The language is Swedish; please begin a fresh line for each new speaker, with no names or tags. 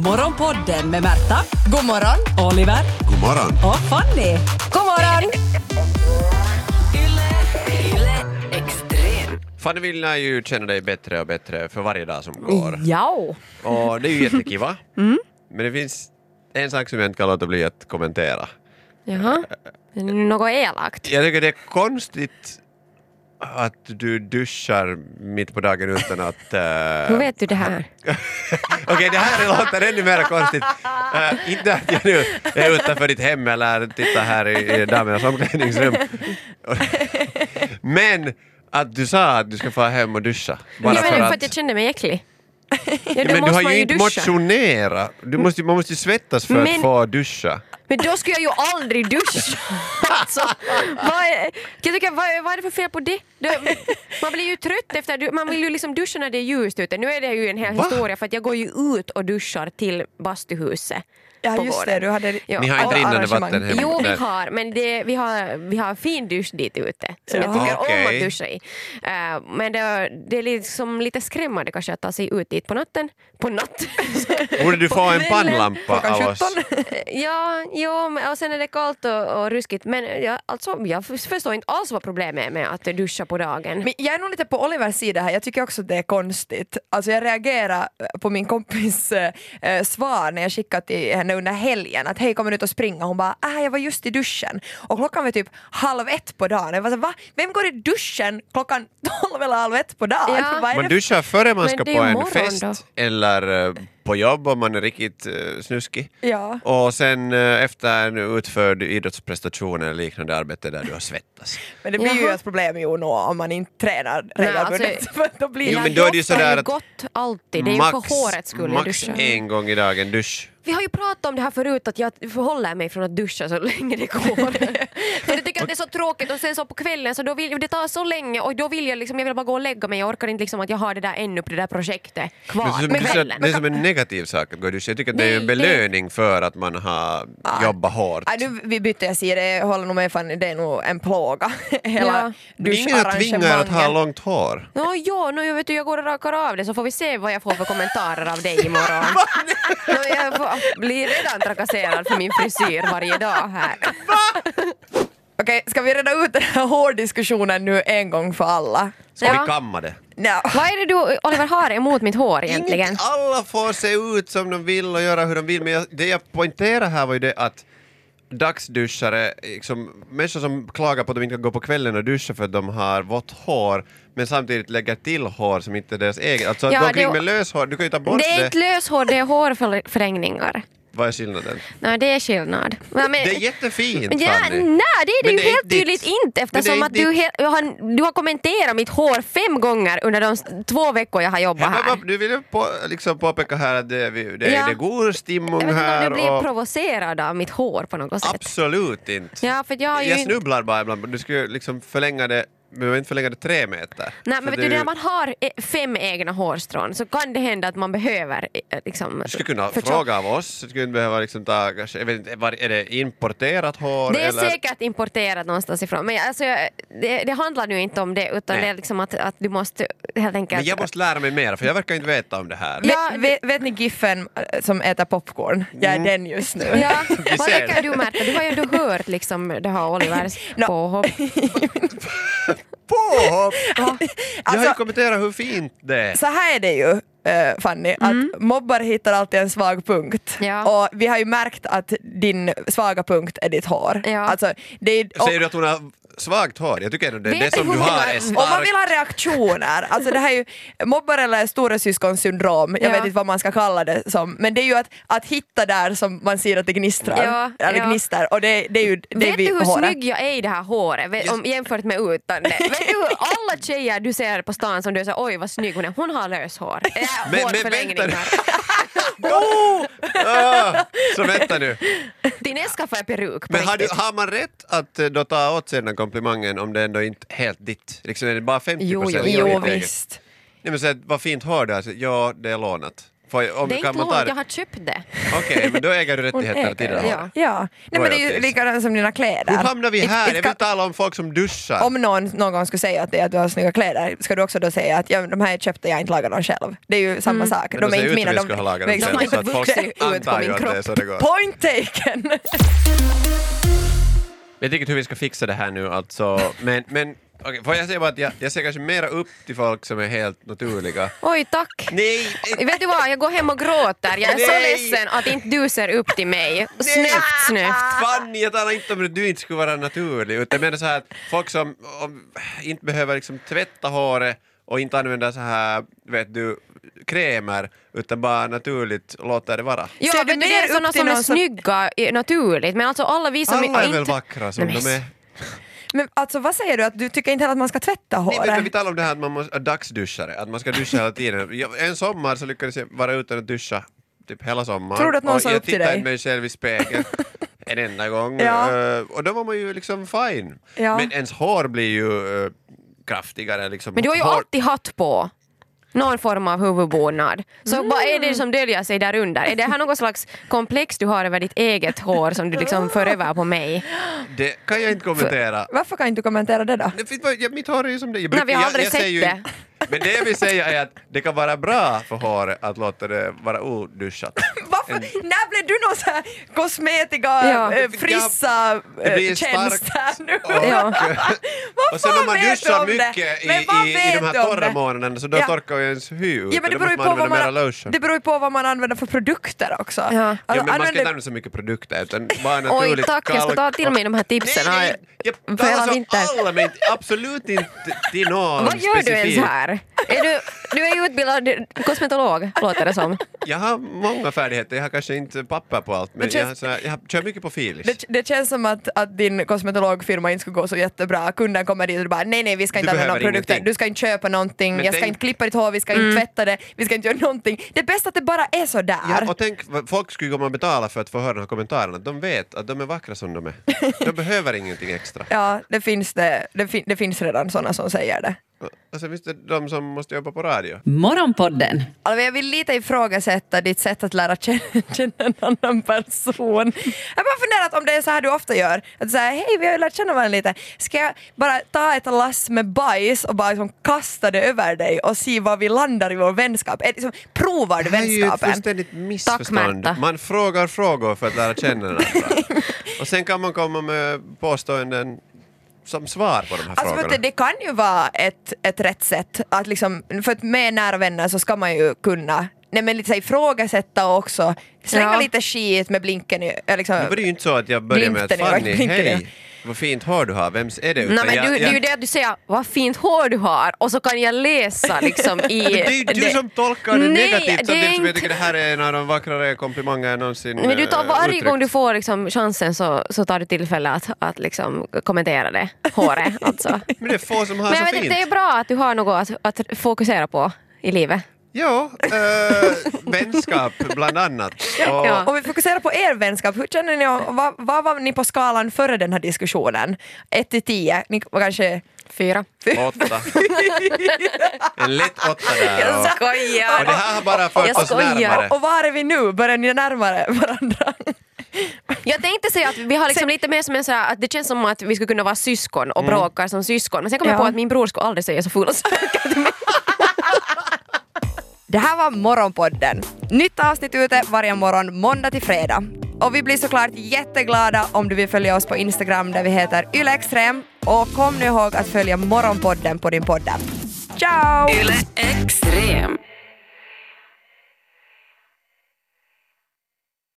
Morgonpodden med Märta,
God morgon!
Oliver
God morgon.
och Fanny.
God morgon!
Fanny vill ju känna dig bättre och bättre för varje dag som går.
Ja. Mm.
Och det är ju jättekul va? Men det finns en sak som jag inte kan låta bli att kommentera.
Jaha. Är det nu något elakt?
Jag tycker det är konstigt att du duschar mitt på dagen utan att... eh,
Hur vet du det här?
Okej, det här låter ännu mer konstigt. Eh, inte att jag nu är utanför ditt hem eller tittar här i, i damernas omklädningsrum. Men att du sa att du ska få hem och duscha. Bara
jag menar
för
för
att...
att jag kände mig äcklig. Ja,
Ja,
då
men du
måste
har
man
ju inte motionerat. Du måste, man måste ju svettas för
Men-
att få duscha.
Men då skulle jag ju aldrig duscha! Alltså, vad, är, jag tycker, vad, är- vad är det för fel på det? Då- Man blir ju trött efter... du- Man vill ju liksom duscha när det är ljust ute. Nu är det ju en hel
Va?
historia för att jag går ju ut och duschar till bastuhuset.
Ja
på
just det,
gården.
du hade
Ja.
Ni har
alla
inte rinnande
arrangemang.
vatten hemma?
Jo, vi
Nej.
har, men det, vi har, vi har fin dusch dit ute som jag
Ja.
tycker om
Okej.
att duscha i. Eh, men det, det är liksom lite skrämmande kanske att ta sig ut dit på natten. På natten?
Borde du få en pannlampa
klockan
av oss?
17.
Eh, ja, jo, men- och sen är det kallt och, och ruskigt. Men jag, alltså, jag f- förstår inte alls vad problemet är med att duscha på dagen.
Men jag är nog lite på Olivers sida här, jag tycker också att det är konstigt. Alltså jag reagerar på min kompis eh, svar när jag skickade till henne under helgen att hej kommer du ut och springa? Hon bara äh, jag var just i duschen och klockan var typ halv ett på dagen. Jag bara, så, Va? Vem går i duschen klockan tolv eller halv ett på dagen?
Ja.
Vad är
Man
det
duschar före man
Men
ska
det är
på en
morgon
fest
då.
eller eh, på jobb om man är riktigt eh, snuskig.
för- Ja.
Och sen eh, efter en utförd idrottsprestation eller liknande arbete där du har svettats.
Men det blir ju
Jaha.
ett problem ju nå om man inte tränar
Nej,
regelbundet.
alltså-
för då blir
Jo,
det-
men då är det ju
Jag har
sådär
ju
att
gått alltid, det är ju för hårets skull jag
max
duschar.
en gång i dagen dusch.
Vi har ju pratat om det här förut att jag förhåller mig från att duscha så länge det går. För jag tycker att det är så tråkigt och sen så på kvällen så då vill, det tar så länge och då vill jag liksom, jag vill bara gå och lägga mig. Jag orkar inte liksom att jag har det där ännu på det där projektet
Men
kvar
som
på
du sa,
kvällen.
det är som en negativ sak att gå och duscha. Jag tycker att det är en
Nej, det-
belöning för att man har jobbat hårt.
Nej, nu, vi bytte jag sida, jag håller nog med Fanny, det är nog en plåga. Hela
Men Ingen tvingar att ha
duscharrangemangen.
långt hår.
Ja, ja nu, jag, vet, du, jag går och rakar av det så får vi se vad jag får för kommentarer av dig imorgon. Nå, jag får, blir redan trakasserad för min frisyr varje dag här.
Okej, ska vi reda ut den här hårdiskussionen nu en gång för alla?
Ska
Ja.
vi kamma det?
Ja.
Vad är det du Oliver har emot mitt hår egentligen?
Inget, alla får se ut som de vill och göra hur de vill, men jag, det jag poängterade här var ju det att dagsduschare, liksom, människor som klagar på att de inte kan gå på kvällen och duscha för att de har vått hår, men samtidigt lägger till hår som inte är deras eget. Alltså att
Ja,
gå omkring
det-
med löshår, du kan ju ta bort
Det är
det.
inte löshår, det är hårförlängningar.
Vad är skillnaden?
Nej, det är skillnad. Ja, men,
Det är jättefint
Eh, ja,
Fanny!
Nej, det är det
Men
ju
det är
helt
inte ditt.
tydligt inte eftersom
Men
att
det är
du,
inte
he- har, du har kommenterat mitt hår fem gånger under de s- två veckor jag har jobbat
Men
här.
vad- Du vill ju på, liksom påpeka här att det, är vi- det, är-
Ja.
det är god stimmung
Jag vet inte om
här.
du blir
och...
provocerad av mitt hår på något sätt.
Absolut inte.
Ja, för jag har ju
jag
inte-
snubblar bara ibland. Du skulle liksom förlänga det, men behöver inte förlänga det tre meter.
Nej,
För
men vet du, när man har eh, fem egna hårstrån så kan det hända att man behöver eh, liksom,
du skulle kunna
förtjocka-
fråga av oss, du skulle inte behöva liksom ta, kanske, jag vet inte, var, är det importerat hår?
Det är
eller?
säkert importerat någonstans ifrån men alltså, jag, det, det handlar nu inte om det utan
Nej.
det är liksom att, att du måste helt enkelt...
Men jag måste lära mig mer, för jag verkar inte veta om det här.
Ja,
Vet, vet, vet ni Giffen eh, som äter popcorn? Jag är den just nu.
Ja,
Vi
vad
ser.
tycker du Märta? Du har ju ändå hört liksom det här Olivers
Nå.
påhopp.
Påhopp! Jag har ju
Alltså-
kommenterat hur fint det är.
Så här är det ju eh, Fanny, att mobbar hittar alltid en svag punkt.
Mm. Ja.
Och vi har ju märkt att din svaga punkt är ditt hår.
Ja.
Alltså, det är, och,
Säger du att hon har svagt hår? Jag tycker ändå det,
Vet
det
du
som
hur
du
många-
har är
om
Mm. om man vill
starkt.
ha reaktioner, alltså det här är ju mobbar eller storasyskonsyndrom, jag
Ja.
vet inte vad man ska kalla det som, men det är ju att, att hitta där som man ser att det gnistrar.
Ja,
eller
ja.
gnistar, och det, det är ju det är
Vet du
vi
hur
håret.
snygg jag är i det här håret Vet- om, jämfört med utan det? Vet du hur alla tjejer du ser på stan som du säger oj vad snygg hon är, hon har löshår. Äh,
Men- men
hårförlängningar.
Oh! Ah! Så vänta nu.
Din äska får jag peruk på
Men har, du,
riktigt.
har man rätt att eh, då ta åt sig den här komplimangen om det ändå inte är helt ditt? Liksom är det bara 50
Jo, jo,
procent?
Jo visst.
Nej men så att, vad fint hår du har. Så, Ja, det är lånat. Får jag, om,
Det är
kan
inte
man ta
lån,
det?
jag har köpt det.
Okej, men då äger du rättigheterna till det.
Ja.
då.
Ja.
ja. Nej, men det är ju
Royalties.
likadant som dina kläder.
Hur hamnar vi
It-
här?
it
Jag
ska-
vill tala om folk som duschar.
om någon någon skulle säga att, det är att du har snygga kläder, ska du också då säga att ja, men de här köpte jag inte lagat dem själv? Det är ju
Mm.
samma sak.
Men de ser ut som vi skulle ha lagat dem
exakt.
själva, så att
De
folk
ser ut
antar
på
ju
min
att det är så det går.
kropp. Point taken!
Jag vet inte hur vi ska fixa det här nu alltså, men, men okej, får jag säga bara att jag, jag ser kanske mera upp till folk som är helt naturliga.
Oj, tack.
Nej!
Vet du vad, jag går hem och gråter. Jag är så
Nej.
ledsen att inte du ser upp till mig. Snyggt, snyggt.
Fanny, jag talar inte om att du inte skulle vara naturlig, utan jag menar så här att folk som om, inte behöver liksom tvätta håret och inte använda så här, vet du, krämer, utan bara naturligt låter det vara.
Ja,
Ser du
men det
mer
är
upp
såna
till
som är
någon som-
snygga eh, naturligt, men alltså alla vi som
Alla är
inte...
väl vackra som
Nej, men
de är.
Men alltså vad säger du, att du tycker inte heller att man ska tvätta
Nej, men, men
håret?
vi talar om det här att man måste, att dagsduschare, att man ska duscha hela tiden. Jag, en sommar så lyckades jag vara utan att duscha typ hela sommaren.
Tror du att någon
och
sa
jag
upp till
tittade
dig?
mig själv i spegeln en enda gång.
Ja.
eh, Och då var man ju liksom fine.
Ja.
Men ens hår blir ju eh, kraftigare. Liksom.
Men du har ju
Hår-
alltid hatt på. Någon form av huvudbonad. Så vad är det som döljer sig där under? Är det här någon slags komplex du har över ditt eget hår som du liksom för över på mig?
Det kan jag inte kommentera.
Varför kan inte du kommentera det då?
Det finns bara- ja, Mitt hår är ju som det är. Jag brukar-
Nej, vi har
jag-
aldrig
jag
sett
säger ju
det.
inte- Men det vi säger är att det kan vara bra för håret att låta det vara oduschat.
Varför?
En-
När blev du någon sån här kosmetika,
Ja.
eh, frissa
Det blir
eh, tjänst
starkt
här nu?
och-
Ja.
Vad
Och sen
fan
om man
vet du
duschar
om det?
mycket i,
Men vad
i, i
vet
de här
du om
torra
det?
månaderna så då
Ja.
torkar ju ens hy ut.
Ja, men det,
Då
beror
måste
ju på
man använda
vad
mera
man,
lotion.
det beror ju på vad man använder för produkter också. Alltså,
Ja.
Ja, men man ska
använder-
inte använda så mycket produkter utan bara naturligt
Oj, tack. Jag ska
kalk
ta till
och-
mig de här tipsen.
Nej, nej,
För
jag talar
hela
som
vintern.
alla men inte- absolut inte till någon
Vad gör du ens
specifik.
här? Är du, du är ju utbildad kosmetolog, låter det som.
Jag har många färdigheter, jag har kanske inte papper på allt men,
Men
jag,
känns-
har så här, jag har- kör mycket på filis.
Det, det känns som att, att din kosmetologfirma inte skulle gå så jättebra. Kunden kommer dit och bara nej nej vi ska inte
Du
använda några
behöver
produkter,
ingenting.
du ska inte köpa någonting,
Men
jag ska
tänk-
inte klippa ditt hår, vi ska inte tvätta det, vi ska inte göra någonting. Det är bäst att det bara är sådär.
Ja, och tänk, vad- folk skulle komma och betala för att få höra de här kommentarerna. De vet att de är vackra som de är. De behöver ingenting extra.
Ja, det finns, det, det, fin, det finns redan sådana som säger det.
Och sen finns Alltså, det de som måste jobba på radio.
Morgonpodden
Alltså jag vill lite ifrågasätta ditt sätt att lära känna, känna en annan person. Jag har bara funderat om det är så här du ofta gör. Att säga hej vi har ju lärt känna varandra lite. Ska jag bara ta ett lass med bajs och bara liksom kasta det över dig och se var vi landar i vår vänskap? Är, det liksom, provar du
Det här är ju ett
vänskapen?
fullständigt
Tack,
missförstånd.
Märta.
man frågar frågor för att lära känna varandra. Och sen kan man komma med påståenden som svar på de här
Alltså för
frågorna.
att det kan ju vara ett, ett rätt sätt att liksom, för att med nära vänner så ska man ju kunna Nej men lite så här ifrågasätta och också slänga
Ja.
lite skit med blinken i, äh, liksom.
Nu var det ju inte så att jag började med att
Glimten i
Fanny,
ögat, blinken i ögat."
hej, vad fint hår du har, vems är det? Utan
Nej, men
jag,
du, Det är ju
jag,
det att du säger vad fint hår du har och så kan jag läsa liksom i...
men det är ju du som tolkar det
Nej,
negativt
det är
samtidigt som jag
inte-
tycker det här är en av de vackrare komplimanger jag någonsin
Men du tar
eh,
varje
uttryckt.
gång du får liksom chansen så, så tar du tillfälle att, att liksom kommentera det, håret alltså.
Men det är få som har
Men
så
jag vet
fint.
inte, det är bra att du har något att, att fokusera på i livet.
Ja, eh, vänskap bland annat. Och,
Ja.
Om vi fokuserar på er vänskap, hur känner ni, om- vad, vad var ni på skalan före den här diskussionen? 1 till 10, ni var kanske...
Fyra.
Åtta. En lätt åtta där. Och,
Jag skojar!
och det här har bara fört
Jag
oss
skojar.
närmare.
Och var är vi nu? Börjar ni närmare varandra?
Jag tänkte säga att vi har liksom lite mer som en så här, att det känns som att vi skulle kunna vara syskon
Mm.
och bråkar som syskon. Men sen kom
Ja.
jag på att min bror skulle aldrig säga så fula saker till mig.
Det här var Morgonpodden. Nytt avsnitt ute varje morgon måndag till fredag. Och vi blir såklart jätteglada om du vill följa oss på Instagram där vi heter ylextrem. Och kom nu ihåg att följa Morgonpodden på din poddapp. Ciao!
Yle Extrem.